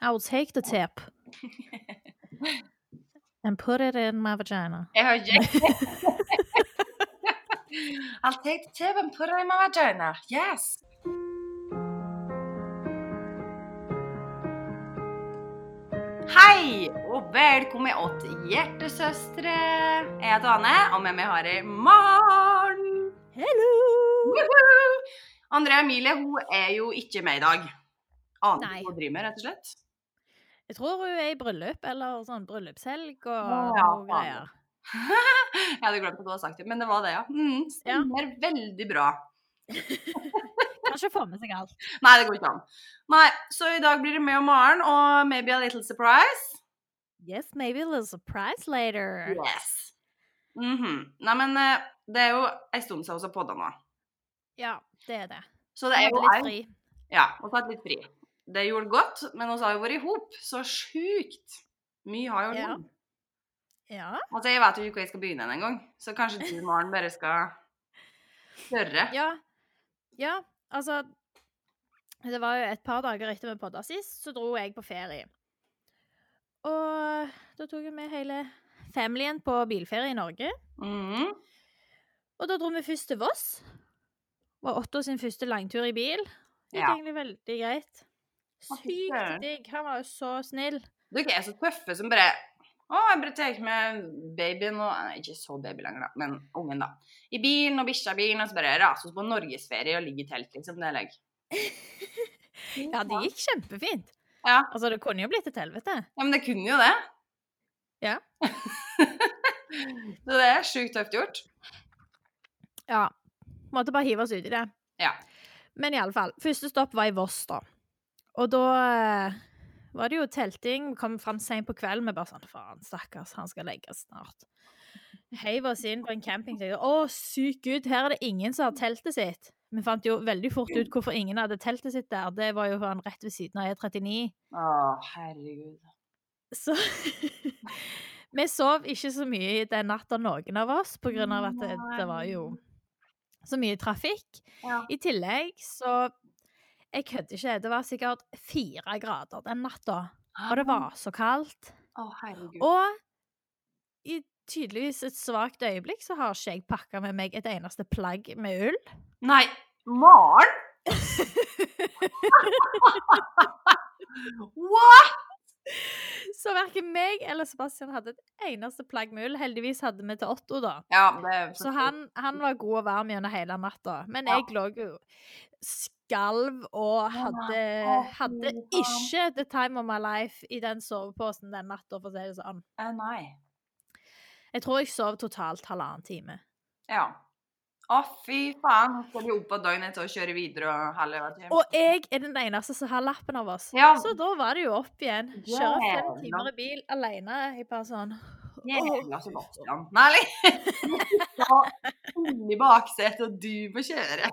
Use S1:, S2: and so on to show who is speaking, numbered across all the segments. S1: I will take the tip and put it in my vagina.
S2: Jeg har ikke I'll take the tip and put it in my vagina. Yes. Hei, og velkommen åt Hjertesøstre. Jeg heter Anne, og med meg har jeg Maren.
S1: Hello!
S2: Woohoo! Andrea Emilie hun er jo ikke med i dag. Aner
S1: Nei.
S2: ikke hva hun driver med, rett og slett.
S1: Jeg tror hun er i bryllup eller sånn bryllupshelg og
S2: Ja,
S1: noe
S2: faen.
S1: greier.
S2: Jeg hadde glemt at du hadde sagt det, men det var det, ja. Mm, stemmer veldig bra.
S1: Kan ikke få med seg alt.
S2: Nei, det går ikke an. Nei, Så i dag blir det med og Maren og maybe a little surprise.
S1: Yes, maybe a little surprise later.
S2: Yes. Mhm. Nei, men eh, det er jo en stund siden vi har podda nå.
S1: Ja, det er det.
S2: Så det
S1: Jeg
S2: er jo
S1: hadde litt
S2: en-
S1: fri.
S2: Ja, vi har tatt litt fri. Det gjorde godt, men vi har jo vært i hop. Så sjukt. Mye har jo
S1: Ja.
S2: skjedd.
S1: Ja.
S2: Altså, jeg vet jo ikke hvor jeg skal begynne en gang, så kanskje du, Maren, bare skal spørre.
S1: ja. Ja, altså Det var jo et par dager etter vi podda sist, så dro jeg på ferie. Og da tok jeg med hele familien på bilferie i Norge.
S2: Mhm.
S1: Og da dro vi først til Voss. Var Otto sin første langtur i bil. Det gikk
S2: Ja.
S1: egentlig veldig greit.
S2: Å, fy søren.
S1: Sykt digg. Han var jo så snill.
S2: Dere er så tøffe som bare Å, jeg bare tar ikke med babyen og Nei, ikke så baby lenger, da, men ungen, da. I bilen og bikkja i bilen, og så bare raser vi på norgesferie og ligger i telt, liksom. Det er legg.
S1: Ja, det gikk kjempefint.
S2: Ja.
S1: Altså, det kunne jo blitt et helvete.
S2: Ja, men det kunne jo det.
S1: Ja.
S2: så det er sjukt tøft gjort.
S1: Ja. Måtte bare hive oss ut i det.
S2: Ja.
S1: Men iallfall. Første stopp var i Voss, da. Og da eh, var det jo telting. Vi kom fram seint på kvelden. Vi bare sånn Faen, stakkars, han skal legges snart. Heiv oss inn på en camping. tenkte, Å, syk gud, her er det ingen som har teltet sitt. Vi fant jo veldig fort ut hvorfor ingen hadde teltet sitt der. Det var jo han rett ved siden av E39.
S2: Å, herregud.
S1: Så Vi sov ikke så mye den natta, noen av oss, på grunn av at det, det var jo så mye trafikk.
S2: Ja.
S1: I tillegg så Jeg kødder ikke, det var sikkert fire grader den natta. Og
S2: Ah.
S1: det var så kaldt.
S2: Å, herregud.
S1: Og i tydeligvis et svakt øyeblikk så har ikke jeg pakka med meg et eneste plagg med ull.
S2: Nei, Maren? What?!
S1: Så verken meg eller Sebastian hadde et eneste plagg med ull. Heldigvis hadde vi til Otto, da.
S2: Ja, det er
S1: Så han, han var god og varm gjennom hele natta. Men
S2: Ja.
S1: jeg lå jo skalv og hadde,
S2: å, fy
S1: hadde
S2: faen.
S1: ikke the time of my life i den soveposen den natta, for å si det sånn.
S2: Eh, Nei.
S1: Jeg tror jeg sov totalt halvannen time.
S2: Ja. Å, fy faen. Nå skal vi opp på døgnet til å kjøre videre og halve veien hjem.
S1: Og jeg er den eneste som har lappen av oss.
S2: Ja.
S1: Så da var det jo opp igjen. Kjøre fem
S2: Jævla.
S1: timer i bil alene. Jeg bare sånn
S2: Jævla Sebastian. Nei, eller? Ja, Ung i baksetet, og du må kjøre.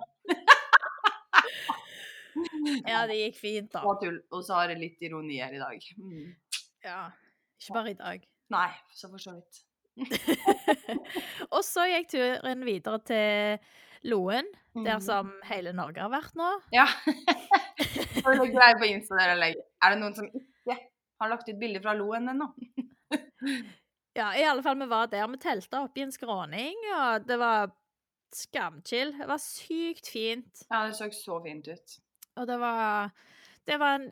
S1: Ja, det gikk fint, da.
S2: Og tull. Og så har jeg litt ironi her i dag. Mm.
S1: Ja. Ikke bare i dag.
S2: Nei, så for så vidt.
S1: Og så gikk turen videre til Loen, der
S2: Mm.
S1: som hele Norge har vært nå.
S2: Ja. Har du lagt greie på Insta der, eller? Er det noen som ikke har lagt ut bilder fra Loen ennå?
S1: Ja, i alle fall, vi var der. Vi telta oppi en skråning, og det var skamchill. Det var sykt fint.
S2: Ja, det så så fint ut.
S1: Og det var Det var en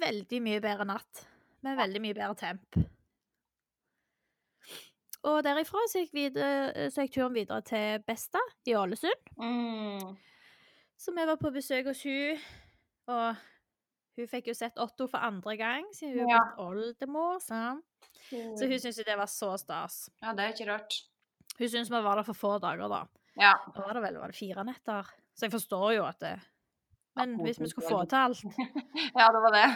S1: veldig mye bedre natt, med veldig mye bedre temp. Og derifra så gikk, videre, så gikk turen videre til Besta i Ålesund.
S2: Mm.
S1: Så vi var på besøk hos hun, og hun fikk jo sett Otto for andre gang, siden hun
S2: Ja.
S1: er blitt oldemor. sant? Så hun syntes jo det var så stas.
S2: Mm. Ja, det er ikke rart.
S1: Hun syntes vi var der for få dager, da.
S2: Ja.
S1: Da var det vel var det fire netter. Så jeg forstår jo at det Men
S2: Ja,
S1: hvis vi skulle få til
S2: potensielt.
S1: alt,
S2: ja, det var det.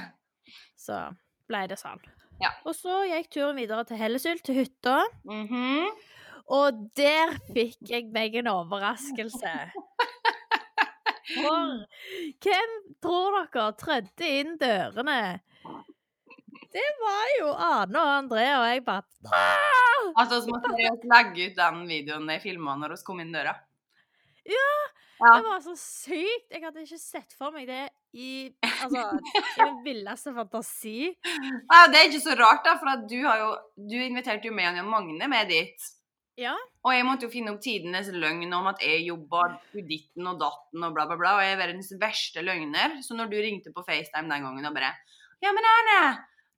S1: så ble det sånn.
S2: Ja.
S1: Og så gikk turen videre til Hellesylt, til hytta,
S2: Mhm.
S1: og der fikk jeg meg en overraskelse. For hvem tror dere trødde inn dørene? Det var jo Ane og André, og jeg bare "Ah!"
S2: Altså, vi må seriøst legge ut den videoen de filma når vi kom inn døra.
S1: Det var så sykt! Jeg hadde ikke sett for meg det i altså, i min villeste fantasi.
S2: Ja, Ah, det er ikke så rart, da, for at du, har jo, du inviterte jo meg og Magne med dit.
S1: Ja.
S2: Og jeg måtte jo finne opp tidenes løgn om at jeg jobber på ditten og datten og bla, bla, bla. Og jeg er verdens verste løgner. Så når du ringte på FaceTime den gangen og bare Ja, men Arne,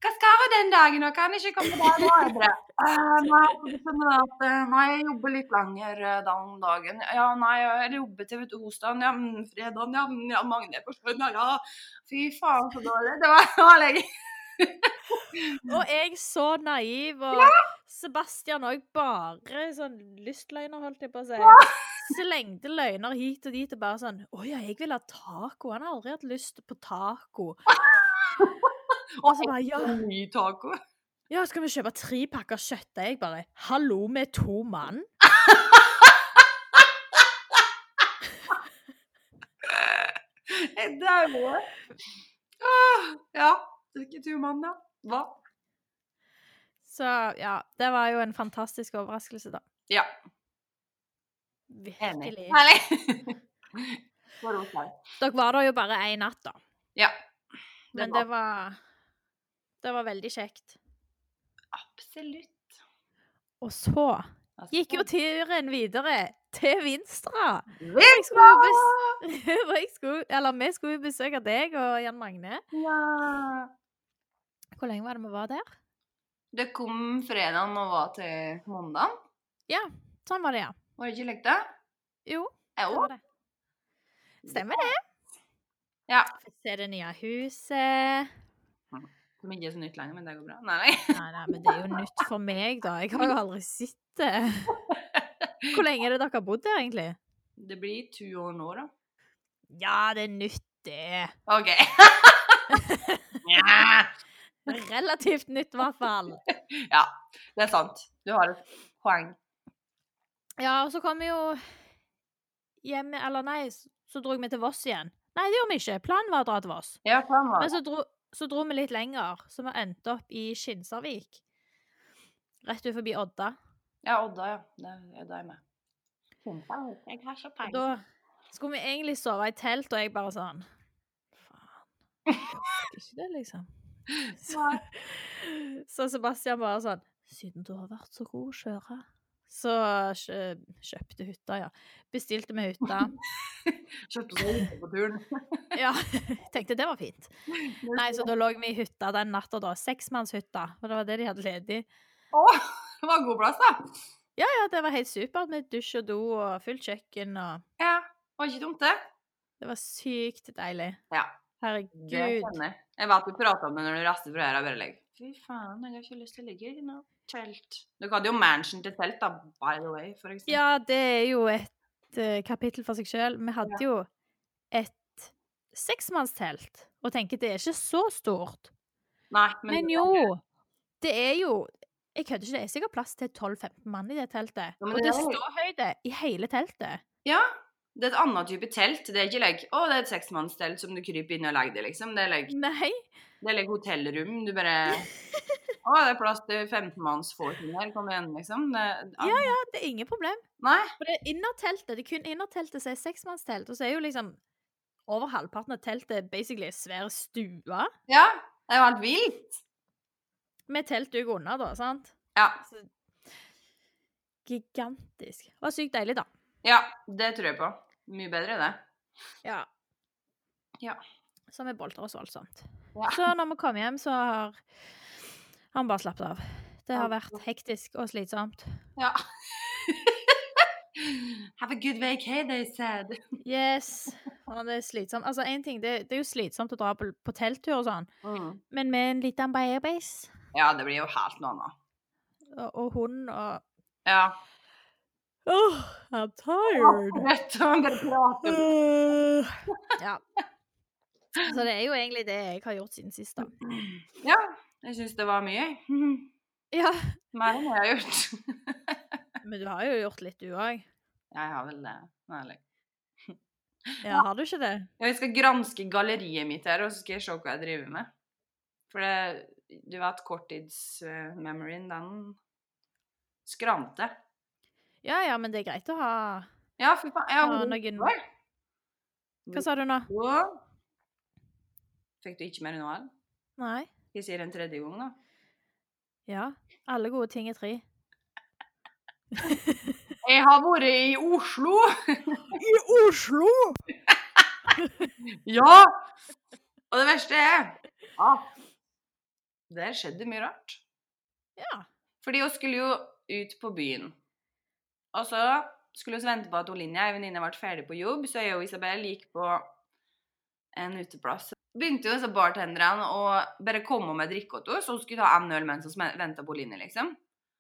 S2: hva skal jeg den dagen? Og kan jeg ikke komme der nå? Jeg bare, «Eh, Nei, du skjønner at eh, nei, jeg jobber litt lenger eh, den dagen. Ja, nei, jeg jobber til onsdagen. Ja, men fredagen. Ja, men ja, Magne er på søndag. Ja, fy faen, så dårlig. Det var, det var lenge.
S1: Og jeg så naiv, og Sebastian òg bare sånn lystløgner, holdt jeg på å si. Slengte løgner hit og dit og bare sånn 'Å ja, jeg vil ha taco.' Han har aldri hatt lyst på taco. Og så bare 'Ja,
S2: Ny taco.
S1: ja skal vi kjøpe tre pakker kjøttdeig?' Jeg bare 'Hallo, vi er to mann'.
S2: Jeg dauer. Åh, Ah, Ja. Det er ikke du, mann, da. Hva?
S1: Så ja, det var jo en fantastisk overraskelse, da.
S2: Ja. Enig.
S1: Virkelig.
S2: Herlig. Bare hos deg.
S1: Dere var der jo bare én natt, da.
S2: Ja.
S1: Men det var Det var veldig kjekt.
S2: Absolutt.
S1: Og så gikk jo turen videre til Vinstra.
S2: Vent,
S1: skulle jo bes- Og jeg skulle, eller vi skulle jo besøke deg og Jan Magne.
S2: Ja.
S1: Hvor lenge var det vi var der?
S2: Det kom fredagen og var til mandagen.
S1: Sånn var det, ja.
S2: Var det ikke lekt det?
S1: Jo, det
S2: Jo.
S1: var det. Stemmer det.
S2: Ja.
S1: Fikk se det nye huset.
S2: Som ikke er så nytt lenger, men det går bra. Nei, nei.
S1: Nei, nei, men det er jo nytt for meg, da. Jeg har jo aldri sett det. Hvor lenge er det dere har bodd der, egentlig?
S2: Det blir to år nå, da.
S1: Ja, det er nytt, det.
S2: OK. ja.
S1: Relativt nytt, i hvert fall.
S2: ja. Det er sant. Du har et poeng.
S1: Ja, og så kom vi jo hjemme Eller nei, s- så dro vi til Voss igjen. Nei, det gjorde vi ikke. Planen var å dra til Voss.
S2: Ja, planen var
S1: Men så dro, så dro vi litt lenger, så vi endte opp i Skinsarvik. Rett ut forbi Odda.
S2: Ja, Odda, ja. Det er da jeg med. Jeg har så
S1: Og da skulle vi egentlig sove i telt, og jeg bare sånn Faen. Jeg orker ikke det, liksom. Så, så Sebastian bare sånn Siden du har vært så god å kjøre, så kjø, kjøpte hytta, ja. Bestilte vi hytta.
S2: Kjøpte seg hytte på turen.
S1: Ja, jeg tenkte det var fint. Nei, så da lå vi i hytta den natta, da. Seksmannshytta. Og det var det de hadde ledig.
S2: Å, det var god plass, da.
S1: Ja, det var helt supert med dusj og do og fullt kjøkken og
S2: Ja, var ikke dumt, det.
S1: Det var sykt deilig.
S2: Ja. Det
S1: Herregud.
S2: kjenner jeg. Jeg vet du prata om det når du reiste fra her og bare like, Fy faen, jeg har ikke lyst til å ligge i noe telt. Dere hadde jo mansion til telt, da, by the way, for eksempel.
S1: Ja, det er jo et eh, kapittel for seg sjøl. Vi hadde jo et seksmannstelt, og tenker det er ikke så stort.
S2: Nei, men,
S1: Men jo, det er jo Jeg kødder ikke, det er sikkert plass til 12-15 mann i det teltet.
S2: Ja, men
S1: Og det
S2: det er jo-
S1: står høyde i hele teltet.
S2: Ja. Det er et annet type telt. Det er ikke like Å, det er et seksmannstelt som du kryper inn og legger deg, liksom. Det er like
S1: Nei.
S2: Det er litt hotellrom. Du bare Å, det er plass til 15-mannsfolken her. Kom igjen, liksom. Det,
S1: Ja, ja, det er ingen problem.
S2: Nei.
S1: For det er innerteltet. Det er kun innerteltet som er seksmannstelt. Og så er jo liksom over halvparten av teltet basically en svær stue
S2: Ja. Det er jo helt vilt.
S1: med teltduk under, da, sant?
S2: Ja.
S1: Så, gigantisk. Det var sykt deilig, da.
S2: Ja, det tror jeg på. Mye bedre, det.
S1: Ja.
S2: Ja.
S1: Så vi bolter oss voldsomt.
S2: Ja.
S1: Så når vi kom hjem, så har han bare slappet av. Det har
S2: Ja.
S1: vært hektisk og slitsomt.
S2: Ja. Have a good vacay, they said.
S1: Yes. Og det er slitsomt. Altså, en ting, det, det er jo slitsomt å dra på, på telttur og sånn, men med en liten baby's
S2: Mm. Ja, det blir jo helt noe annet.
S1: og, og hund og
S2: Ja.
S1: Oh, I'm tired.
S2: Rett og slett bare prate.
S1: ja. Så det er jo egentlig det jeg har gjort siden sist, da.
S2: Ja. Jeg syns det var mye, jeg.
S1: Ja.
S2: Mer enn jeg har gjort.
S1: Men du har jo gjort litt, du òg.
S2: Jeg har vel det. Ærlig.
S1: Ja, har du ikke det?
S2: Ja, jeg skal granske galleriet mitt her, og så skal jeg se hva jeg driver med. For det, du vet korttidsmemoryen, den skrante.
S1: Ja ja, men det er greit å ha
S2: Ja, fy faen. Jeg
S1: Ja,
S2: har
S1: noen-
S2: vært
S1: Hva sa du nå?
S2: på Fikk du ikke med deg noe av det?
S1: Nei.
S2: Jeg sier en tredje gang, da.
S1: Ja. Alle gode ting er tre.
S2: Jeg har vært i Oslo.
S1: I Oslo!
S2: Ja! Og det verste er ja, Der skjedde mye rart.
S1: Ja.
S2: Fordi hun skulle jo ut på byen. Og så skulle vi vente på at hun Linja, ei venninne, ble ferdig på jobb, så jeg og Isabel gikk på en uteplass. Begynte jo disse bartenderne å bare komme med drikke til oss, og hun skulle ta en øl mens vi venta på Linja, liksom.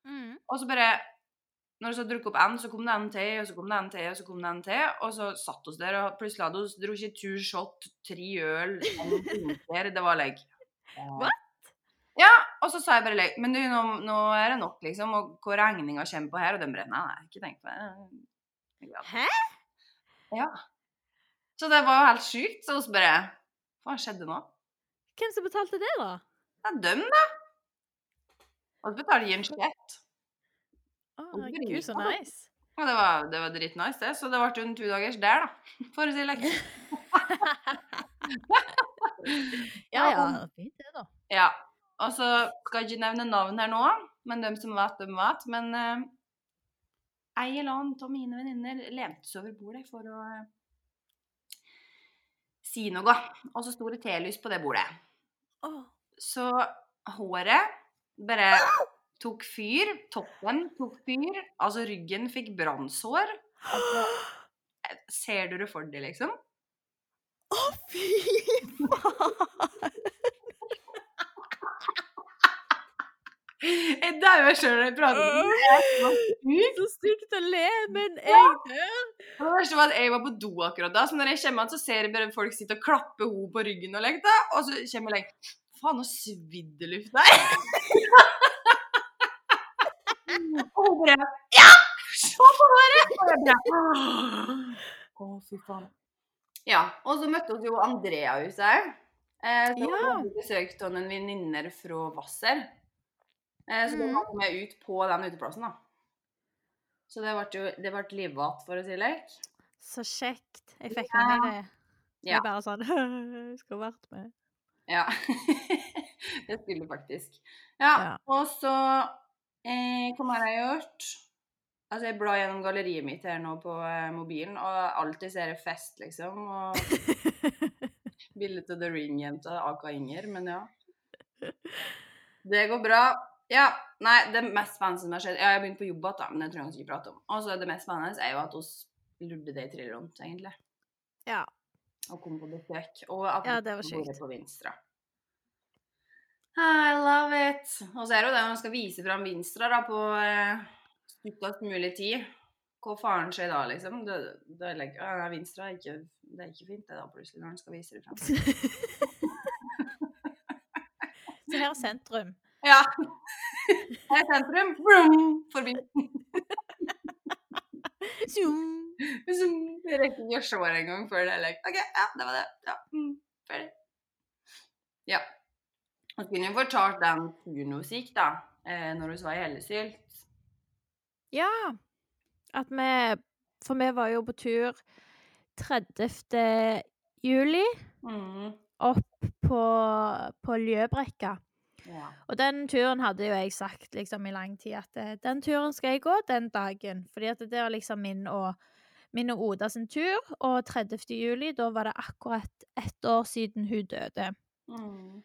S1: Mm.
S2: Og så bare Når vi så drukket opp en, så kom det en til, og så kom det en til, og så kom det en til. Og så satt oss der, og plutselig hadde vi drukket to shot, tre øl, en vinter. Det var like
S1: What?
S2: Ja, og så sa jeg bare like Men du, nå, nå er det nok, liksom. Og hvor regninga kommer på her, og den brenner. Nei, jeg har ikke tenkt på det. Jeg er glad.
S1: Hæ?
S2: Så det var jo helt sjukt. Så vi bare Hva skjedde nå?
S1: Hvem som betalte det, da?
S2: Det er dem, da. Og så betalte jeg en sjett.
S1: Å,
S2: Å,
S1: herregud, så
S2: drita.
S1: nice.
S2: Og det var, det var dritnice, det. Så det ble jo en to-dagers der, da. For å si det like.
S1: Ja ja, fint det, da.
S2: Ja. Og så skal jeg ikke nevne navn her nå, men dem som vet, dem vet. Men eh, ei eller annen av mine venninner lente seg over bordet for å eh, si noe. Og så sto det telys på det bordet.
S1: Å,
S2: Så håret bare tok fyr. Toppen tok fyr. Altså ryggen fikk brannsår.
S1: Altså,
S2: Ser du det for deg, liksom?
S1: Å, fy faen!
S2: Jeg dauer sjøl når jeg prater om det. Det var sjukt.
S1: Så stygt å le, men jeg dør.
S2: Og Det verste var at jeg var på do akkurat da, så når jeg kommer igjen, så ser jeg bare folk sitte og klappe henne på ryggen og legge da, og så kommer jeg like Faen, nå svidde luft der. og hun bare Ja! Se på håret! Og jeg bare Å, fy faen. Ja. Og så møtte vi jo Andrea i huset. Eh, så
S1: Ja.
S2: ja. besøk av noen venninner fra Hvasser. Eh, så
S1: Mhm.
S2: da kom jeg ut på den uteplassen, da. Så det ble jo det ble livvatt, for å si det like.
S1: Så kjekt. Jeg fikk med meg det. Jeg
S2: Ja.
S1: er bare sånn Jeg skulle vært med.
S2: Ja. det skulle faktisk. Ja,
S1: Ja.
S2: og så eh, Hva mer har jeg gjort? Altså, jeg blar gjennom galleriet mitt her nå på eh, mobilen, og alltid ser jeg fest, liksom. Og bilde av The Ring-jenta, Aka Inger, men ja. Det går bra. Ja, nei, det mest spennende som har skjedd Ja, jeg har begynt på jobb igjen, da, men det trenger vi ikke prate om. Og så det mest spennende er jo at oss lurte det i trillerunt, egentlig.
S1: Ja.
S2: Og kom på besøk. Og at
S1: Ja, det var
S2: vi bor
S1: sjukt.
S2: på Vinstra. I love it! Og så er det jo det man skal vise fram Vinstra da, på eh, kortest mulig tid. Hva faen skjer da, liksom? Det, det er like, «Å, nei, Vinstra er ikke, det er ikke fint, det da, plutselig, når man skal vise det fram.
S1: Så her er sentrum.
S2: Ja! Her er sentrum. Blum, forbi.
S1: Zoom.
S2: Så Jeg rekker ikke å se Liksom, det engang før det er like, OK, ja, det var det. Ja, mm, ferdig. Ja. Jeg kunne jo fortalt den turen hun gikk, da, eh, når hun var i Hellesylt.
S1: Ja. At vi For vi var jo på tur 30. juli
S2: Mm.
S1: opp på, på Ljøbrekka.
S2: Ja.
S1: Og den turen hadde jo jeg sagt liksom i lang tid at eh, den turen skal jeg gå den dagen. Fordi at det var liksom min og, min og Oda sin tur. Og 30. juli, da var det akkurat ett år siden hun døde.
S2: Mm.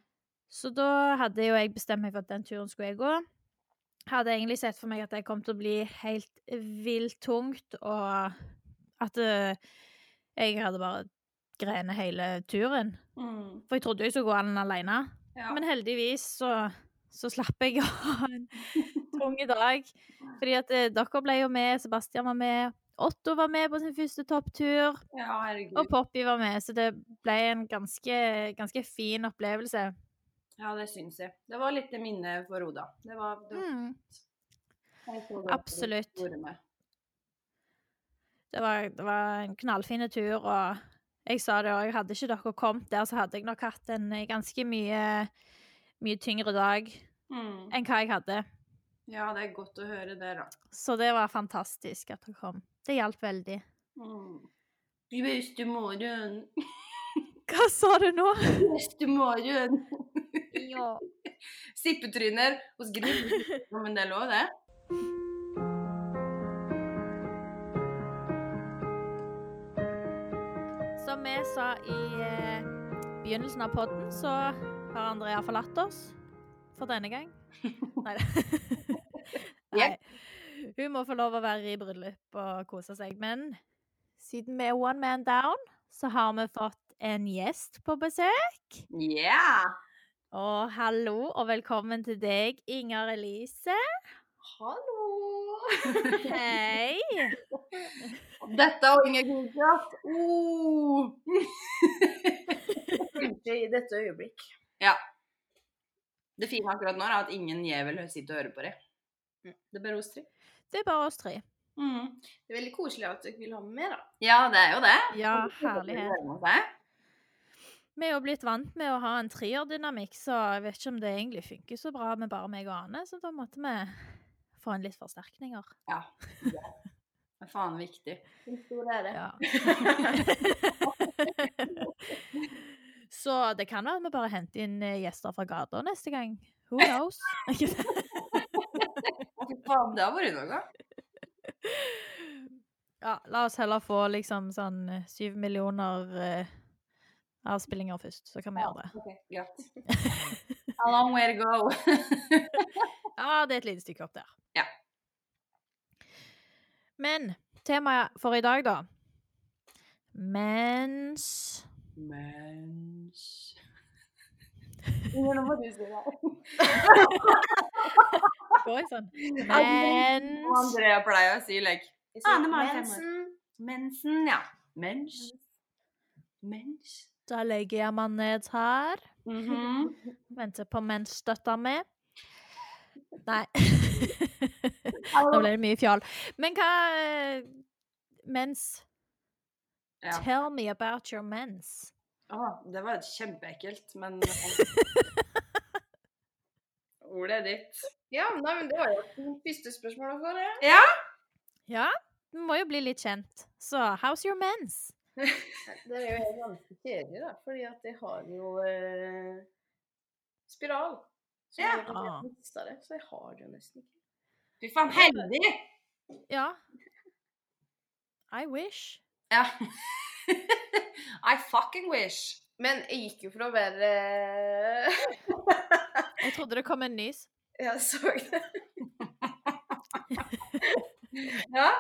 S1: Så da hadde jo jeg bestemt meg for at den turen skulle jeg gå. Hadde egentlig sett for meg at det kom til å bli helt vilt tungt, og at eh, jeg hadde bare grene hele turen.
S2: Mm.
S1: For jeg trodde jo jeg skulle gå den alene.
S2: Ja.
S1: Men heldigvis så, så slapp jeg å ha en tung dag. Fordi at eh, dere ble jo med, Sebastian var med, Otto var med på sin første topptur,
S2: ja, herregud.
S1: og Poppy var med, så det ble en ganske, ganske fin opplevelse.
S2: Ja, det syns jeg. Det var litt minne for Oda. Det var, det var
S1: Mm.
S2: jeg så det
S1: absolutt.
S2: på ordet med.
S1: det var, det var en knallfin tur, og jeg sa det òg, hadde ikke dere kommet der, så hadde jeg nok hatt en eh, ganske mye, mye tyngre dag
S2: Mm.
S1: enn hva jeg hadde.
S2: Ja, det er godt å høre det, da.
S1: Så det var fantastisk at
S3: Mm.
S1: dere kom. Det hjalp veldig.
S2: Mm. Bestemor, hun
S1: Hva sa du nå?
S2: Neste morgen.
S1: Ja.
S2: Sippetryner hos Gry. Ja, Men det er lov, det.
S1: Som vi sa i eh, begynnelsen av podden, så har Andrea forlatt oss for denne gang. Nei da. Nei. Hun må få lov å være i bryllup og kose seg. Men siden vi er one man down, så har vi fått en gjest på besøk.
S2: Yeah!
S1: Og hallo og velkommen til deg, Inger Elise.
S2: Hallo!
S1: Hei!
S2: Dette og Inger Gulbrand. Oh.
S3: Kanskje i dette øyeblikk.
S2: Det fine akkurat nå er at ingen jævel sitter og hører på det. Det beror oss tre.
S1: Det er bare oss tre.
S2: Mm.
S3: Mm. Det er veldig koselig at dere vil ha med mer, da.
S2: Ja, det er jo det.
S1: Ja, herlighet.
S2: Seg.
S1: Vi er jo blitt vant med å ha en trierdynamikk, så jeg vet ikke om det egentlig funker så bra med bare meg og Ane, så da måtte vi få inn litt forsterkninger.
S2: Ja. Det er faen viktig.
S3: En stor ære.
S1: Ja. så det kan være at vi bare henter inn eh, gjester fra gata neste gang. Who knows? Ikke sant?
S2: Å, Fy faen, det har vært noe.
S1: ja, la oss heller få liksom sånn eh, syv millioner eh, avspillinger først, så kan vi gjøre det.
S2: Ok, greit. A long way to go.
S1: Ja, det er et lite stykke opp der.
S2: Ja.
S1: Men temaet for i dag, da. Mens
S2: Mens Nå må du si det.
S1: Går jeg sånn?
S2: Og
S1: Mens
S2: Andrea pleier å si like
S3: Jeg sier,
S2: Ah, det må jeg ta med.
S3: mensen.
S2: Mensen, ja. Mens. Mens.
S1: Da legger jeg meg ned her.
S2: Mhm.
S1: Venter på mensstøtta mi. Nei. Nå ble det mye fjall. Men hva eh, Mens.
S2: Ja.
S1: Tell me about your mens.
S2: Å, det var kjempeekkelt, men Ordet er ditt.
S3: Ja, nei, men det var jo første spørsmål også, det.
S1: Ja, du må jo bli litt kjent. Så how's your mens?
S3: Det er jo helt ganske kjedelig, da, fordi at jeg har jo eh, spiral. Så
S2: Ja.
S3: jeg har
S1: Ah.
S3: helt mistet det, så jeg har det jo nesten ikke.
S2: Fy faen, heldig!
S1: Ja. I wish.
S2: Ja. I fucking wish.
S3: Men jeg gikk jo for å være
S1: Jeg trodde det kom en nys.
S3: Jeg så det.
S2: Ja.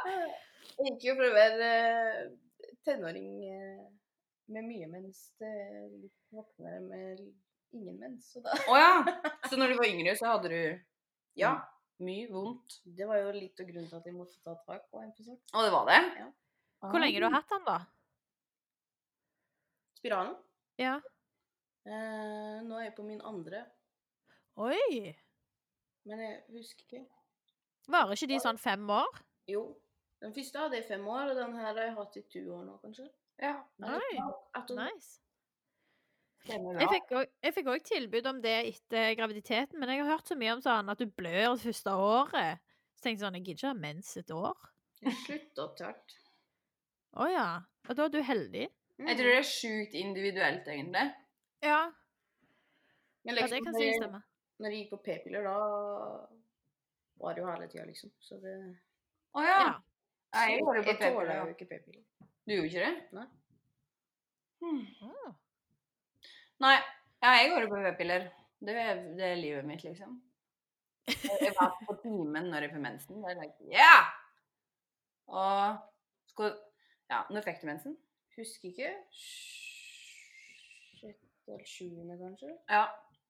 S3: Jeg gikk jo for å være eh, tenåring eh, med mye mens det er litt våknere med ingen mens. Så da
S2: Å ja. Så når du var yngre, så hadde du ja, mye vondt.
S3: Det var jo litt av grunnen til at jeg måtte ta tak på en episode.
S2: Og det var det?
S1: Hvor lenge har du hatt den, da?
S3: Spiralen.
S1: Ja.
S3: Eh, nå er jeg på min andre,
S1: Oi!
S3: men jeg husker ikke.
S1: Varer ikke de sånn fem år?
S3: Jo, den første hadde jeg i fem år, og den her har jeg hatt i 20 år nå, kanskje.
S2: Ja.
S3: Eller
S1: Oi,
S3: ja, at hun-
S1: Nice.
S2: Stemmer
S1: Jeg
S2: bra.
S1: fikk også- jeg fikk òg tilbud om det etter graviditeten, men jeg har hørt så mye om sånn at du blør det første året. Så tenkte jeg sånn Jeg gidder ikke ha mens et år.
S3: jeg slutta opp til hvert.
S1: Å ja. Og da er du heldig.
S3: Mm.
S2: Jeg tror det er sjukt individuelt, egentlig.
S1: Ja,
S3: Men
S1: ja
S3: liksom,
S1: det kan
S3: når,
S1: si
S3: jeg,
S1: stemme.
S3: når jeg gikk på p-piller, da var det jo hele tida, liksom. Så det
S2: Å ja.
S1: Ja.
S2: Jeg gjorde det
S3: Jeg
S2: på paper.
S3: tåler
S2: ja.
S3: jo ikke p-piller.
S2: Du gjorde ikke det?
S3: Nei.
S2: Hmm.
S1: Å.
S2: Nei, ja, jeg går jo på p-piller. Det, er- det er livet mitt, liksom. Jeg jeg var på timen når jeg fikk mensen. Da er jeg like, yeah! Og skal, Ja, når fikk du mensen?
S3: Husker ikke. Sjette eller sjuende, kanskje.
S2: Ja.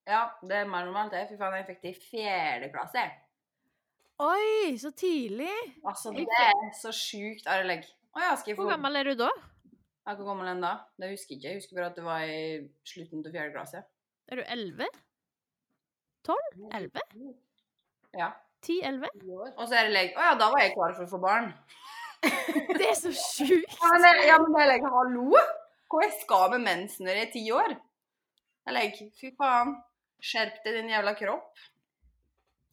S2: ja det er mer normalt, det. Fy faen, jeg fikk det i fjerde klasse. jeg.
S1: Oi, så tidlig!
S2: Altså, det er så sjukt arrelig. Å ja, skal jeg få
S1: Hvor gammel er du da?
S2: Ja, Hvor gammel er den da? Det husker jeg ikke. Jeg husker bare at det var i slutten til fjerde klasse.
S1: Er du elleve? Tolv? Elleve?
S2: Ja.
S1: Ti-elleve?
S3: Ti år.
S2: Og så er det like Å ja, da var jeg klar for å få barn.
S1: Det er så sjukt!
S2: Ja, men det, ja, men det er like, hallo? Hva jeg skal med mensen når jeg er ti år? Jeg er like, fy faen. Skjerp deg, din jævla kropp.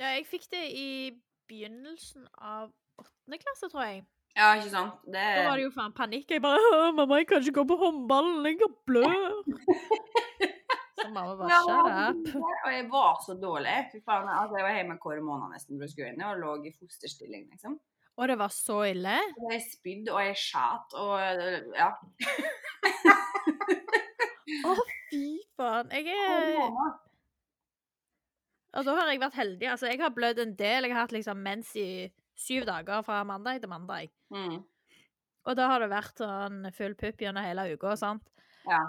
S1: Ja, jeg fikk det i begynnelsen av åttende klasse, tror jeg.
S2: Ja, ikke sant? Det
S1: Da var det jo faen panikk. Jeg bare «Åh, 'Mamma, jeg kan ikke gå på håndballen. Jeg kan blø'. Så mamma bare
S2: Ja,
S1: 'Shut up'.
S2: Og jeg var så dårlig. Fy faen, altså, jeg var hjemme hver måned nesten for å skulle inn og lå i fosterstilling, liksom.
S1: Og det var så ille.
S2: Og jeg spydde, og jeg skjæt, og ja.
S1: Fy faen. Jeg er Og da har jeg vært heldig. Altså, jeg har blødd en del. Jeg har hatt liksom mens i syv dager fra mandag til mandag.
S2: Mm.
S1: Og da har det vært sånn full pupp gjennom hele uka. sant?
S2: Ja.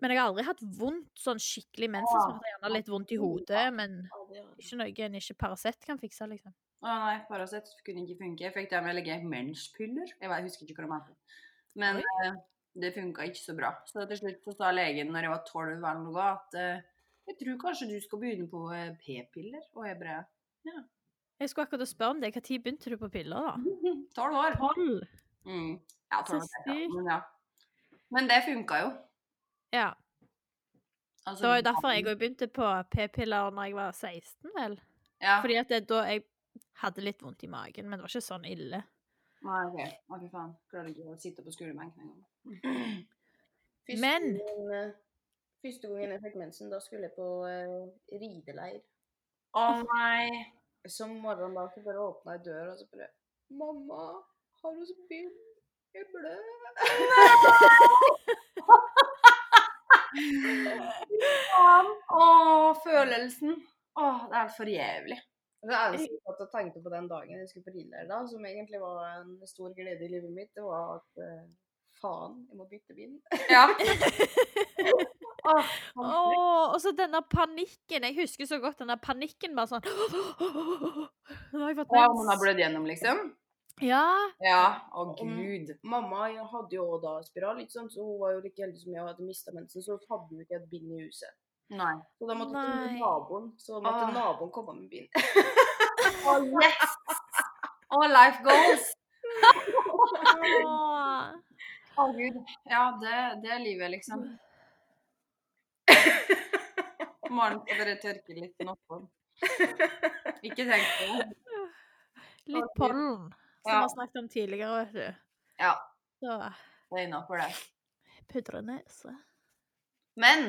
S1: Men jeg har aldri hatt vondt sånn skikkelig mensensmerter. Gjerne litt vondt i hodet, men
S3: Ja, det var-
S1: ikke noe en ikke Paracet kan fikse, liksom.
S2: Å nei, Paracet kunne ikke funke. Jeg fikk det med å legge menspiller. Jeg vet- jeg husker ikke hva det het. Men
S1: Oi.
S2: eh, det funka ikke så bra. Så til slutt så sa legen når jeg var tolv eller noe, at eh, jeg tror kanskje du skal begynne på eh, p-piller. Og jeg bare
S1: Jeg skulle akkurat spørre om det. Når begynte du på piller, da?
S2: Tolv år.
S1: Tolv.
S2: Mm. Ja,
S1: Så
S2: 12 år. Ja.
S1: sykt.
S2: Men, ja. men det funka jo.
S1: Ja.
S2: Altså,
S1: Det var jo derfor jeg òg begynte på p-piller når jeg var 16, vel.
S2: ja.
S1: Fordi at det, da jeg hadde litt vondt i magen, men det var ikke sånn ille.
S2: Nei, ok. Å, fy faen. Klarer ikke å sitte på skolebenken engang.
S3: Første
S1: Men-
S3: gangen, eh, Første gangen jeg fikk mensen, da skulle jeg på eh, rideleir.
S2: Å nei.
S3: Så morgenen da så bare åpna jeg døra, og så bare 'Mamma, har du spydd? Jeg blør.'
S2: Faen. Å, følelsen. Å, det er for jævlig.
S3: Det eneste
S1: Eh.
S3: jeg satt og tenkte på den dagen jeg skulle på rideleir, da, som egentlig var en stor glede i livet mitt, det var at eh, faen, jeg må bytte bind.
S2: Ja. Sånn
S1: Åh, og så denne panikken. Jeg husker så godt denne panikken. Bare sånn Nå har jeg fått
S2: Å, man har
S1: mens.
S2: blødd gjennom, liksom?
S1: Ja.
S2: Ja. Å, gud.
S3: gud. Mamma jeg hadde jo også da spiral, ikke sant? så hun var jo like heldig som jeg og hadde mista mensen, så hun hadde jo ikke et bind i huset.
S2: Nei.
S3: Så da måtte jeg
S1: Nei. Ah.
S3: til naboen, så måtte
S2: Åh.
S3: naboen komme med bind.
S2: Å, yes! Å, life goals.
S1: Åh.
S2: Å, gud. Ja, det, det er livet, liksom. Maren, skal dere tørke litt oppå? Ikke tenk på det.
S1: Litt pollen, som vi
S2: Ja.
S1: har snakket om tidligere, vet du.
S2: Ja,
S1: Så eh,
S2: det er innafor, det.
S1: pudre nese.
S2: Men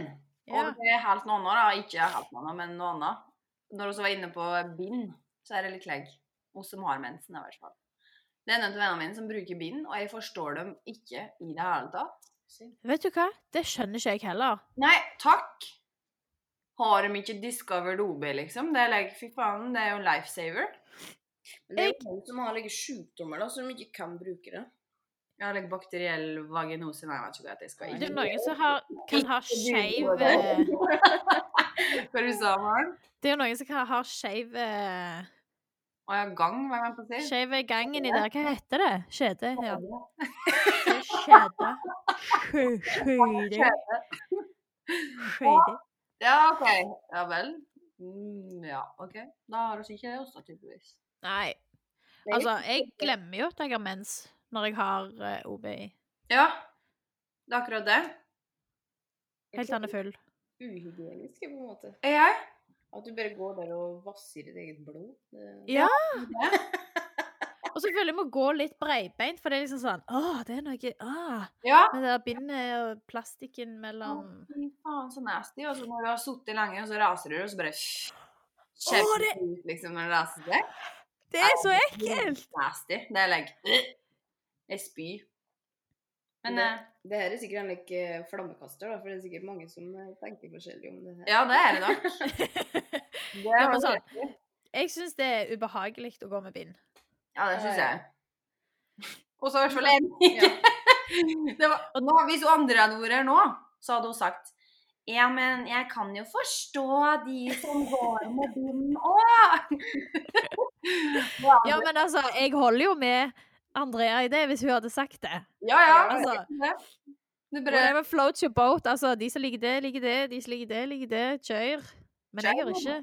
S1: Ja.
S2: Og det er helt noe annet, da. Ikke helt noe annet, men noe annet. Når vi var inne på bind, så er det litt legg. Oss som har mensen, i hvert fall. Det er noen av vennene mine som bruker bind, og jeg forstår dem ikke i det hele tatt.
S1: Vet du hva? Det skjønner ikke jeg heller.
S2: Nei, takk! Har de ikke discovered OB, liksom? Det er like, fy faen, det er jo life saver.
S3: Men det er jo noen som har like sykdommer da, som ikke kan bruke det.
S2: Jeg har like bakteriell vaginose, nei, jeg vet ikke hva det skal
S1: Det er
S2: være.
S1: noen som har, kan ha skeiv Det
S2: Hva du sa du, Maren?
S1: er jo noen som kan ha skeiv eh,
S2: Å ja, gang, hva er det man får si?
S1: Skeive gangen i der. Hva heter det? Skjede? Ja.
S2: Skjede.
S1: Skjede. Skjede. Skjede. Skjede.
S2: Ja, OK. Ja vel. Mm, ja, OK. Da har vi ikke det også, tydeligvis.
S1: Nei.
S3: Det er
S1: Altså, jeg glemmer jo at jeg har mens når jeg har eh, OBI.
S2: Ja, det er akkurat det.
S3: Jeg
S1: Helt
S3: tror
S1: til han er full.
S3: det er Uhygienisk, på en måte.
S2: Er jeg?
S3: At du bare går der og vasser ditt eget blod. Det...
S1: Ja! Og så føler jeg må gå litt breibeint, for det er liksom sånn Å, det er noe ah,
S2: Ja.
S1: Med det der bindet og plastikken mellom
S2: Fy faen, så nasty. Og så når du har sittet lenge, og så raser du, og så bare
S1: Å,
S2: Kjemper
S1: det-
S2: ut, liksom, når du raser seg.
S1: Det er så ekkelt!
S2: Nasty. Det er like Jeg spyr. Men eh,
S3: Det her er sikkert en like eh, flammekaster, da, for det er sikkert mange som eh, tenker forskjellig om det her.
S2: ja, det er det nok. Det
S1: Ja,
S2: har
S1: men
S2: du
S1: sånn,
S2: rett i.
S1: jeg syns det er ubehagelig å gå med bind.
S2: ja, det syns
S3: Ja, ja.
S2: jeg. Og så i hvert fall en det var, nå, hvis hun andre hadde vært her nå, så hadde hun sagt Ja, men jeg kan jo forstå de som går med bind òg.
S1: Ja, men altså, jeg holder jo med Andrea i det, hvis hun hadde sagt det.
S2: Ja, ja.
S1: Altså,
S2: Det er bra.
S1: whatever floats your boat. Altså, de som liker det, liker det. De som liker det, liker det. Kjør. Men jeg gjør ikke.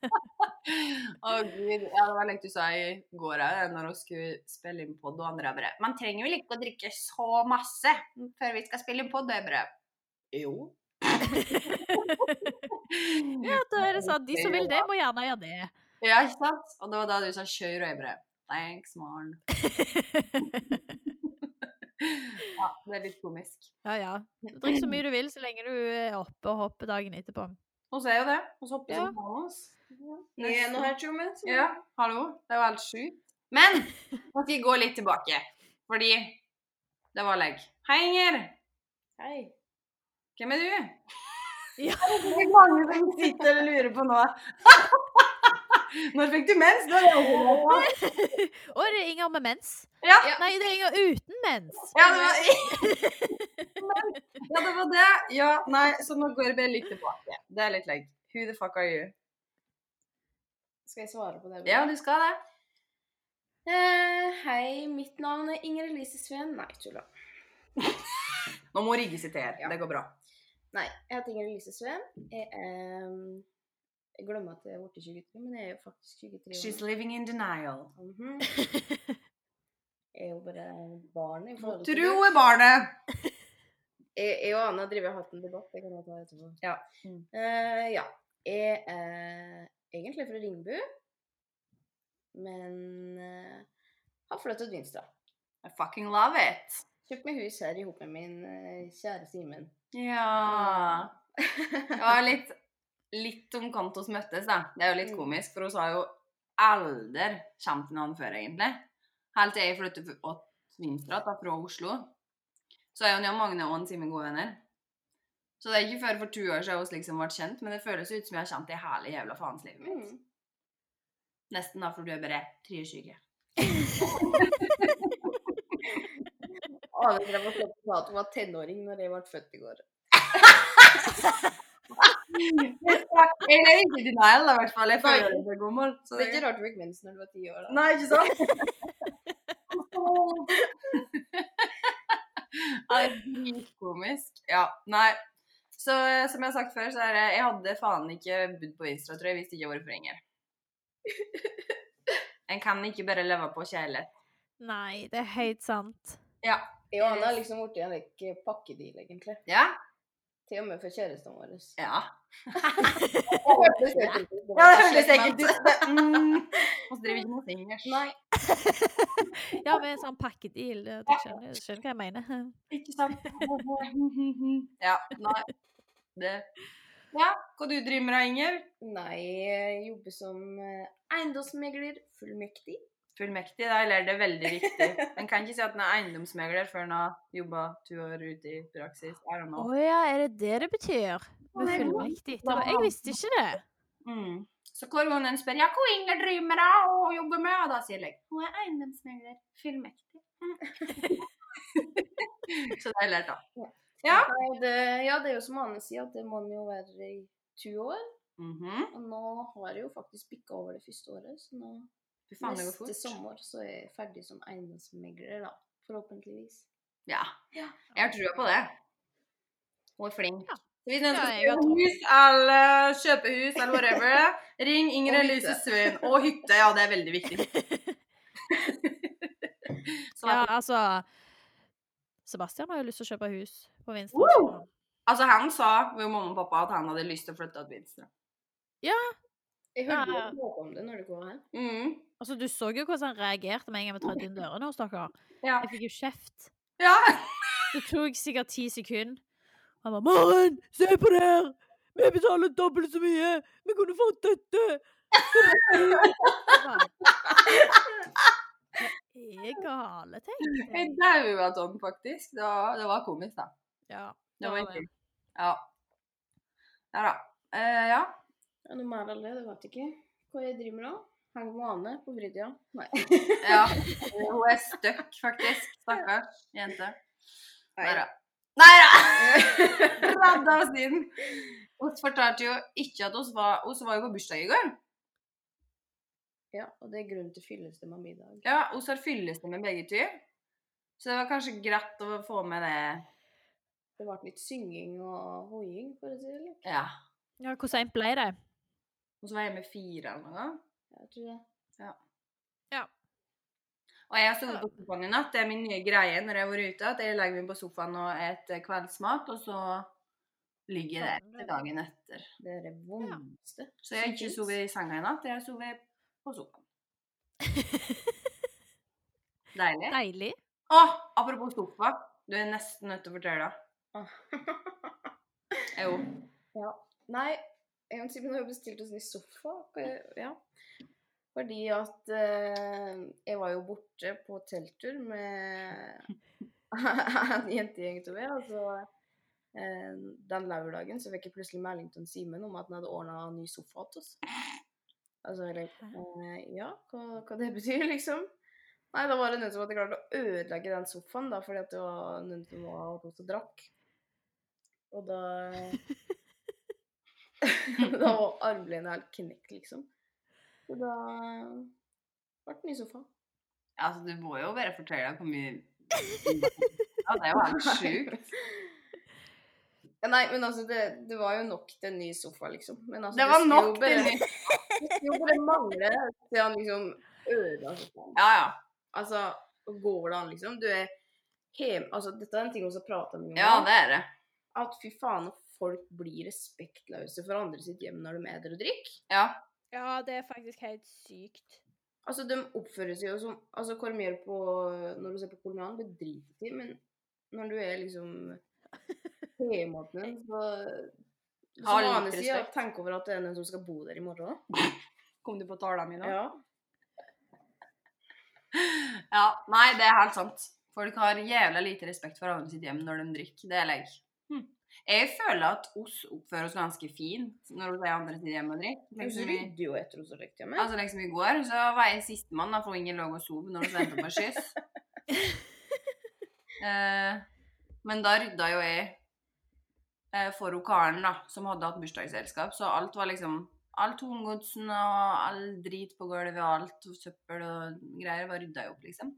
S2: Å, gud. Ja, det var litt du sa i går òg, når hun skulle spille inn podd, og andre bare Man trenger vel ikke å drikke så masse før vi skal spille inn podd, det er bra. Jo.
S1: Ja, da er det sånn. De som vil det, må gjerne gjøre det.
S2: Ja, ikke sant? Og det var da du sa kjør og jeg bare Thanks, Maren.
S1: ja,
S2: Ja, det er litt komisk.
S1: ja. Drikk så mye du vil så lenge du er oppe og hopper dagen etterpå.
S2: Hun ser jo det. Hun hopper
S1: Ja.
S2: som faen. ass.
S3: Ned nå her, Truman. så-
S2: Ja, hallo. Det er jo helt sjukt. Men nå skal jeg gå litt tilbake, fordi det var legg. Hei, Inger.
S3: Hei.
S2: Hvem er du?
S1: Ja.
S2: Det er mange som sitter og lurer på nå. Når fikk du mens? Nå er det over.
S1: Og det er Inger med mens.
S2: Ja.
S3: Ja.
S1: Nei, det er Inger uten mens.
S2: Ja, det var Ja, det var det. Ja, nei, så nå går jeg bare litt tilbake. Det er litt legg. Who the fuck are you?
S3: Skal jeg svare på det?
S2: Ja, du skal det.
S3: Eh, hei, mitt navn er Inger Elise Sveen. Nei, tulla.
S2: Nå må Rigge sitere.
S3: Ja.
S2: Det går bra.
S3: Nei, jeg heter Inger Elise Sveen. Jeg er ehm, Jeg glemmer at jeg er blitt 23, men jeg er jo faktisk 23 år.
S2: She's living in denial.
S3: Mhm. Jeg er jo bare barn i forhold til
S2: Tro
S3: det.
S2: er barnet.
S3: Jeg, jeg og Anna driver og har hatt en debatt. Det kan jeg ta etterpå.
S2: Ja. Mm.
S3: Eh, ja. Jeg er egentlig fra Ringbu, men eh, har flyttet til Vinstra.
S2: I fucking love it.
S3: Kjøpt meg hus her ihop med min eh, kjæreste Simen.
S2: Ja. Det var litt, litt omkant hos møttes, da. Det er jo litt
S3: Mm.
S2: komisk, for hun har jo aldri kjent til noen før, egentlig. Helt til jeg flyttet f- å- til Vinstra, da, fra Oslo. Så er hun jo Magne og en Simen gode venner. Så det er ikke før for to år siden vi liksom ble kjent, men det føles ut som jeg har kjent det hele jævla faens livet mitt.
S3: Mm.
S2: Nesten da, for du er bare 23.
S3: Aner ikke om jeg får på at hun var tenåring når jeg ble født i går.
S2: Jeg er ikke i denial, da, i hvert fall. Jeg
S3: Nei.
S2: føler meg gammel. så
S3: Det er ikke rart du fikk mens når du var ti år. da.
S2: Nei, ikke sant? Ja, det er dritkomisk. Ja, nei. Så eh, som jeg har sagt før, så er det Jeg hadde faen ikke bodd på Isra, tror jeg, hvis det ikke var for Inger. En kan ikke bare leve på kjærlighet.
S1: Nei, det er helt sant.
S3: Jeg og Anna har liksom blitt en like, pakkedeal, egentlig.
S2: Ja?
S3: Til og med for kjærestene våre.
S2: Ja.
S3: Jeg hørte det selv, det
S2: Ja,
S3: var
S2: det
S3: ikke
S2: høres
S3: slett,
S2: ekkelt
S3: men-
S2: ut. Det- Mm. Vi driver ikke med fingers.
S3: Nei.
S1: Ja, med en sånn pakkedeal. det- Du skjønner, du skjønner hva jeg mener.
S2: Ikke sant? Ja. Nei. Det Ja, hva du driver med da, Inger?
S3: Nei, jeg jobber som eh, eiendomsmegler, fullmektig.
S2: Fullmektig, da, eller er det veldig viktig? En kan ikke si at en er eiendomsmegler før en har jobba to år ute i praksis. I don't
S1: Å
S2: know.
S1: ja, er det det det betyr? Med fullmektig? Det var- Jeg visste ikke det.
S2: Mm. Så hver gang en spør ja, hva Inger driver med da, og jobber med, og da sier jeg hun er eiendomsmegler, fullmektig. Mm. Så det har jeg lært, da. Ja.
S3: Nei, det, ja, det er jo som Anne sier, at det må man jo være i 20 år.
S2: Mhm.
S3: Og nå har jeg jo faktisk bikka over det første året, så nå
S2: Fy faen, det går
S3: neste
S2: fort.
S3: sommer så er jeg ferdig som eiendomsmegler, da. Forhåpentligvis.
S2: Ja.
S3: Ja.
S2: Jeg har trua på det. Hun er flink.
S1: Ja.
S2: Så Hvis noen
S1: Ja,
S2: skal
S1: jeg har
S2: kjøpe
S1: tro.
S2: hus eller kjøpe hus eller whatever, ring Inger
S3: Og
S2: Elise
S3: hytte.
S2: Sveen. Og hytte, ja, det er veldig viktig. Så
S1: Ja, altså Sebastian har jo lyst til å kjøpe hus på Vinstra.
S2: Woo! Altså, han sa ved mamma og pappa at han hadde lyst til å flytte til Vinstra.
S3: Jeg hørte
S1: Ja, ja.
S3: du snakka om det når du kom her.
S2: Mm.
S1: Altså, Du så jo hvordan han reagerte med en gang vi trådte inn dørene hos dere.
S2: Ja.
S1: Jeg fikk jo kjeft.
S2: ja.
S1: Det tok sikkert ti sekunder. Han var 'Maren, se på det her! Vi betaler dobbelt så mye! Vi kunne fått dette!' Jeg bare, Hva er gale, tenkte
S2: Jeg
S1: jeg.
S2: daua av Tom, faktisk. Det var, det var komisk, da.
S1: Ja,
S2: Det var
S1: det var
S2: ikke. Ja. Ja da. Eh, ja.
S3: Ja, noe mer av det, det vet jeg ikke. Hva jeg driver med nå? Henger med Ane på Brydia. Nei.
S2: ja. Hun er stuck, faktisk. Stakkars jente. Nei da. Redda oss inn. Hun fortalte jo ikke at oss var Hun var jo på bursdag i går.
S3: Ja, og det er grunn til fyllestemme av middag.
S2: Ja, oss har fyllestemme begge to. Så det var kanskje greit å få med det.
S3: Det ble litt synging og hoiing, for å si det litt.
S2: Ja.
S1: ja, Hvor seint ble det?
S2: Og så var jeg med fire eller noe.
S3: Jeg tror det.
S2: Og jeg har sovet på sofaen i natt. Det er min nye greie når jeg har vært ute. At jeg legger meg på sofaen og et eh, kveldsmat, og så ligger jeg der til dagen etter.
S3: Det er det vondeste.
S2: Så jeg har ikke
S3: som finnes.
S2: sovet i senga i natt. Jeg har sovet på sofaen. Deilig.
S1: Deilig.
S2: Å, apropos sofa. Du er nesten nødt til å fortelle det.
S3: Ah.
S2: Jo.
S3: Ja. Nei, en gang Simen har jo bestilt oss ny sofa. eh, Ja. Fordi at eh, jeg var jo borte på telttur med en jentegjeng, tror jeg. Og så eh, den lørdagen så fikk jeg plutselig melding til Simen om at han hadde ordna ny sofa til oss. Altså, eller eh, Ja, hva, hva det betyr, liksom. Nei, da var det noen som hadde klart å ødelegge den sofaen, da, fordi at det var noen som var ute og drakk. Og da eh, da var armlenet helt knekt, liksom. Så da eh, ble det ny sofa.
S2: Altså, du må jo bare fortelle hvor mye Ja, det er jo helt sjukt.
S3: Ja, Nei, men altså, det, det var jo nok til en ny sofa, liksom. Men altså,
S2: Det var
S3: skulle
S2: nok
S3: jo
S2: til
S3: bare-
S2: nytt.
S3: Det skulle jo bare mangle til han liksom ødela sofaen.
S2: Ja, ja.
S3: Altså, går det an, liksom? Du er hjem... Altså, dette er en ting vi har prata mye om.
S2: Ja, det er det.
S3: At fy faen, folk blir respektløse for andre sitt hjem når de eter og drikker.
S2: Ja.
S1: Ja, det er faktisk helt sykt.
S3: Altså, de oppfører seg jo som Altså, hva de gjør på Når du ser på kolonialen, det driter de i, men når du er liksom hjemme hos dem, så
S2: Ha
S3: Som
S2: litt
S3: Ane sier,
S2: respekt.
S3: tenk over at det er noen som skal bo der i morgen.
S2: Kom du på tala mi
S3: Ja.
S2: Ja. Nei, det er helt sant. Folk har jævla lite respekt for andre sitt hjem når de drikker. Det er jeg. Hm. Jeg føler at oss oppfører oss ganske fin når vi er andre sitt hjem og drikker.
S3: Du
S2: Liksom, vi-
S3: rydder jo etter oss og drikker hjemme.
S2: altså, liksom i går så var jeg sistemann, da, for ingen lå og sov når vi endte på skyss. Eh, men da rydda jo jeg eh, for hun Karen, da, som hadde hatt bursdagsselskap. Så alt var liksom All tungodsen og all drit på gulvet og alt og søppel og greier var rydda opp, liksom.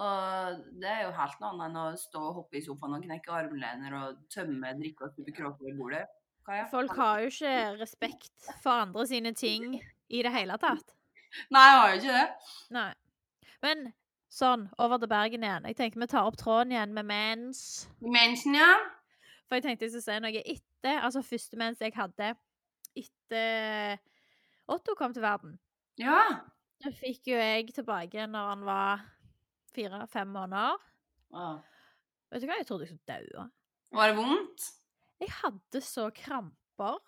S2: Og det er jo helt noe annet enn å stå og hoppe i sofaen og knekke armlener og tømme drikke og stupe kråker i bordet. Kaja?
S1: Folk har jo ikke respekt for andre sine ting i det hele tatt.
S2: Nei, jeg har jo ikke det.
S1: Nei. Men sånn, over til Bergen igjen. Jeg tenker vi tar opp tråden igjen med mens.
S2: Mensen, ja.
S1: For jeg tenkte jeg skulle si noe etter. Altså første mens jeg hadde etter Otto kom til verden.
S2: Ja.
S1: Da fikk jo jeg tilbake når han var fire-fem måneder.
S2: Åh.
S1: Vet du hva, jeg trodde jeg skulle daue.
S2: Var det vondt?
S1: Jeg hadde så kramper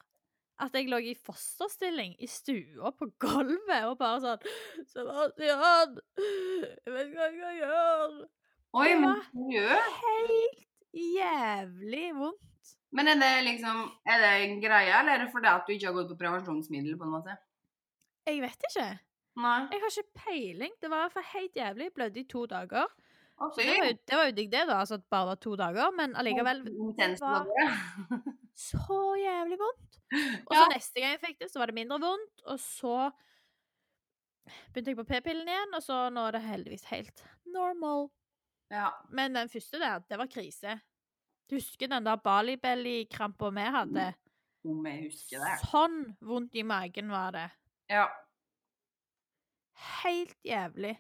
S1: at jeg lå i fosterstilling i stua på gulvet og bare sånn Sebastian, jeg vet ikke hva jeg skal gjøre.
S2: Oi,
S1: Det
S2: men
S1: var-
S2: seriøst?
S1: Helt jævlig vondt.
S2: Men er det liksom Er det en greie, eller er det fordi at du ikke har gått på prevensjonsmiddel, på en måte?
S1: Jeg vet ikke.
S2: Nei.
S1: Jeg har ikke peiling. Det var i hvert fall helt jævlig. Jeg Blødde i to dager.
S2: Å,
S1: Så det var, jo, det var jo digg, det, da. Altså at det bare var to dager. Men allikevel
S2: Intenst
S1: var-
S2: var det.
S1: så jævlig vondt. Og så
S2: Ja.
S1: neste gang jeg fikk det, så var det mindre vondt. Og så begynte jeg på p-pillen igjen, og så nå er det heldigvis helt normal.
S2: Ja.
S1: Men den første der, det var krise. Du husker den der Balibelly-krampa vi hadde?
S2: Om jeg husker det.
S1: Sånn vondt i magen var det.
S2: Ja.
S1: Helt jævlig.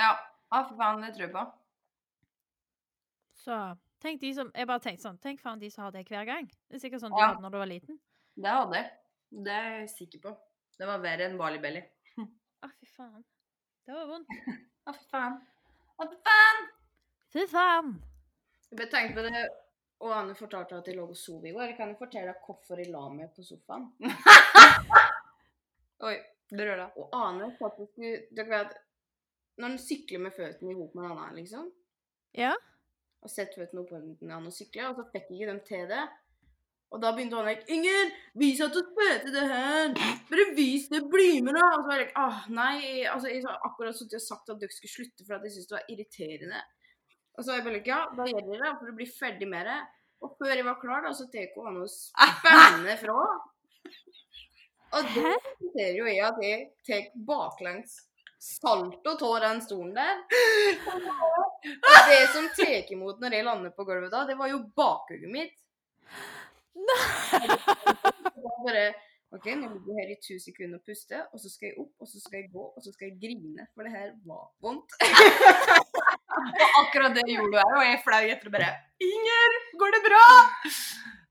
S2: Ja. Å, fy faen, det tror jeg på.
S1: Så tenk de som Jeg bare tenkte sånn Tenk faen de som har det hver gang. Det er sikkert sånn du
S2: Ja.
S1: hadde når du var liten.
S2: Det hadde jeg. Det er jeg sikker på. Det var verre enn Bali Belly.
S1: Å, fy faen. Det var vondt.
S2: Å, fy faen. Å, fy faen.
S1: Fy faen.
S3: Jeg bare tenkte på det, og Anne fortalte at jeg lå og sov i går. Jeg kan jo fortelle deg hvorfor jeg la meg på sofaen.
S2: Oi. Det røra.
S3: Og Ane faktisk Dere vet Når en sykler med føttene i hop med en annen, liksom
S1: Ja.
S3: Og setter føttene oppå den annen og sykler, og så fikk ikke dem til det. Og da begynte han like Inger, vis at du spøter det her! Bare vis det, bli med, da! Og så var jeg like Åh, nei. jeg- Altså, jeg har akkurat sittet og sagt at dere skulle slutte, for at jeg syntes det var irriterende. Og så var jeg bare like Ja, da gjør dere det, for å bli ferdig med det. Og før jeg var klar, da, så tar hun og spenner fra. Og det ser jo jeg at jeg tar baklengs salto av den stolen der. Og det som tek imot når jeg lander på gulvet da, det var jo bakhugget mitt. Det var bare OK, nå ligger jeg her i 1000 sekunder og puster, og så skal jeg opp, og så skal jeg gå, og så skal jeg grine, for det her var vondt.
S2: Og akkurat det gjorde du her, og jeg er flau etter å bare Inger, går det bra?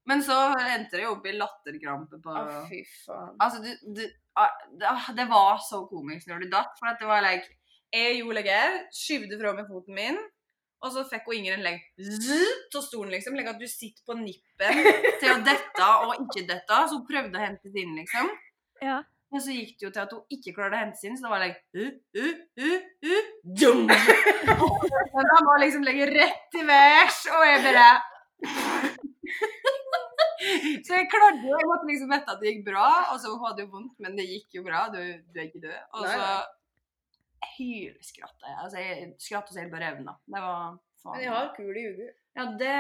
S2: Men så endte det jo opp i latterkrampe på
S3: Å, fy faen.
S2: Altså, du, du, ah, det- ah, det var så komisk når du datt, for at det var like Jeg gjorde legge, skyvde fra meg foten min, og så fikk hun Inger en legg Zzzt, så sto den liksom. Legg at du sitter på nippet til å dette og ikke dette. Så hun prøvde å hente sin, liksom.
S1: Ja.
S2: Men så gikk det jo til at hun ikke klarte å hente sin, så det var like uh, uh, uh, uh, dum. Men han var liksom legge rett i værs, og jeg bare Så jeg klarte jo, jeg måtte liksom vite at det gikk bra, og så hadde jo vondt, men det gikk jo bra, du, du er ikke død. Og
S3: Nei,
S2: så hylskratta jeg, altså jeg skratta så jeg bare revna. Det var faen.
S3: Men jeg har kul i huet.
S2: Ja, det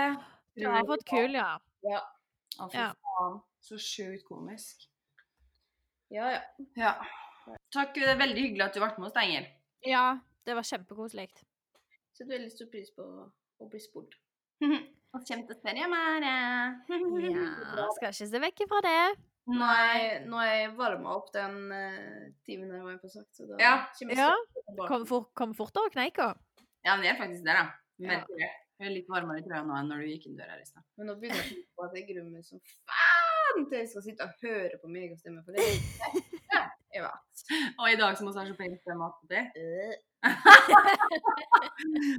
S1: Du har fått kul, ja.
S2: Å, fy
S1: Ja.
S2: faen. Så sjukt komisk.
S3: Ja, ja.
S2: Ja. Takk, det er veldig hyggelig at du ble med oss, da, Inger.
S1: Ja, det var kjempekoselig.
S3: Setter veldig stor pris på å bli spurt.
S2: Og kjem til Sverige, Mare.
S1: Ja, skal ikke se vekk ifra det.
S3: Nå har jeg, nå har jeg varma opp den eh, timen jeg var på sagt, så da
S2: Ja.
S3: kommer jeg
S1: Ja.
S3: straks tilbake.
S1: Kom, for, kom fort over kneika.
S2: Ja, men det er faktisk det, da.
S1: Ja.
S2: Merker det. Jeg er litt varmere i trøya nå enn når du gikk inn døra her i stad.
S3: Men nå begynner jeg å tenke på at jeg gruer meg som faen til jeg skal sitte og høre på meg og stemme for det. Ja, jeg vet.
S2: Og i dag som vi har så pen stemme attpåtil.
S3: Øh.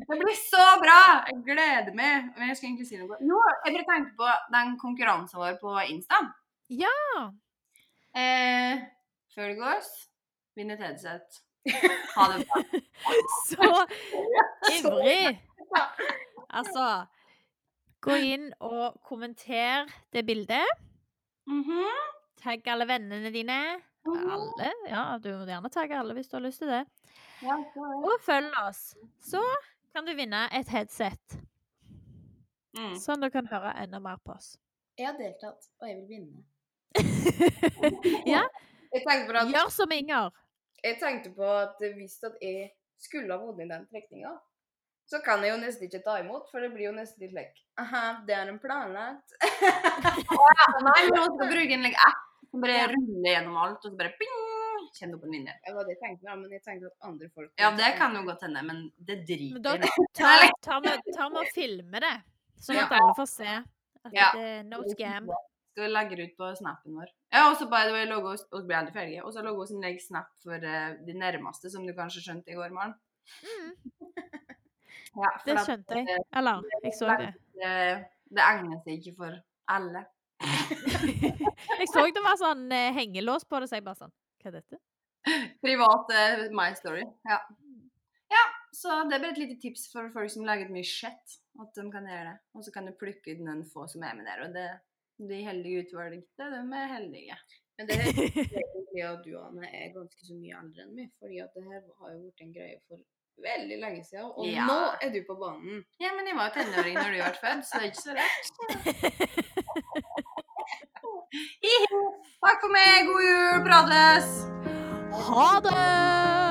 S2: Det blir så bra! Jeg gleder meg. Men jeg skulle egentlig si noe. Jo, jeg bare tenkte på den konkurransen vår på Insta.
S1: Ja.
S2: Eh, før det gås, vinner Tedseth. Ha det bra.
S1: Så ivrig! Altså Gå inn og kommenter det bildet.
S2: Mhm.
S1: Tagg alle vennene dine. Alle? Ja, du må gjerne tagge alle hvis du har lyst til det.
S2: Ja, så er det.
S1: Og følg oss. Så kan du vinne et headset,
S2: Mm.
S1: sånn du kan høre enda mer på oss.
S3: Jeg har deltatt, og jeg vil vinne.
S1: Ja,
S3: Jeg tenkte på at,
S1: gjør som Inger.
S3: jeg tenkte på at hvis at jeg skulle ha vunnet den trekninga, så kan jeg jo nesten ikke ta imot, for det blir jo nesten litt lekk. Aha, det er en planlagt.
S2: Nei, men hun skal bruke en like, app som bare ruller gjennom alt, og så bare ping! Kjenner du på en linje.
S3: Det var det jeg tenkte, ja, men jeg tenkte at andre folk
S2: Ja, det kan jo godt hende, men det driter
S1: Men da
S2: jeg i.
S1: tar tar vi tar vi og filmer det, sånn at alle får se. At
S2: Ja.
S1: det er no scam.
S2: Skal vi legge det ut på snappen vår. Ja, og så by the way, logge oss, og så blir jeg aldri ferdig. Og så logge oss en legg snap for eh, de nærmeste, som du kanskje skjønte i går morgen.
S1: Mm,
S2: Ja, for
S1: det
S2: at,
S1: skjønte jeg. Eller, jeg så det.
S2: eh, det egner seg ikke for alle.
S1: Jeg så det var sånn eh, hengelås på det, så jeg bare sånn Hva er dette?
S2: Privat eh, my story. Ja. ja, så det er bare et lite tips for folk som lager et mye shit, at de kan gjøre det. Og så kan du plukke ut noen få som er med der, og det de heldige utvalgte, de er heldige.
S3: Men det er egentlig at du, Anne, er ganske så mye eldre enn meg, fordi at det her har jo vært en greie for veldig lenge siden, og
S2: Ja.
S3: nå er du på banen.
S2: Ja, men jeg var jo tenåring når du ble født, så det er ikke så rart. Hihi. Takk for meg, god jul, prates!
S1: Ha det!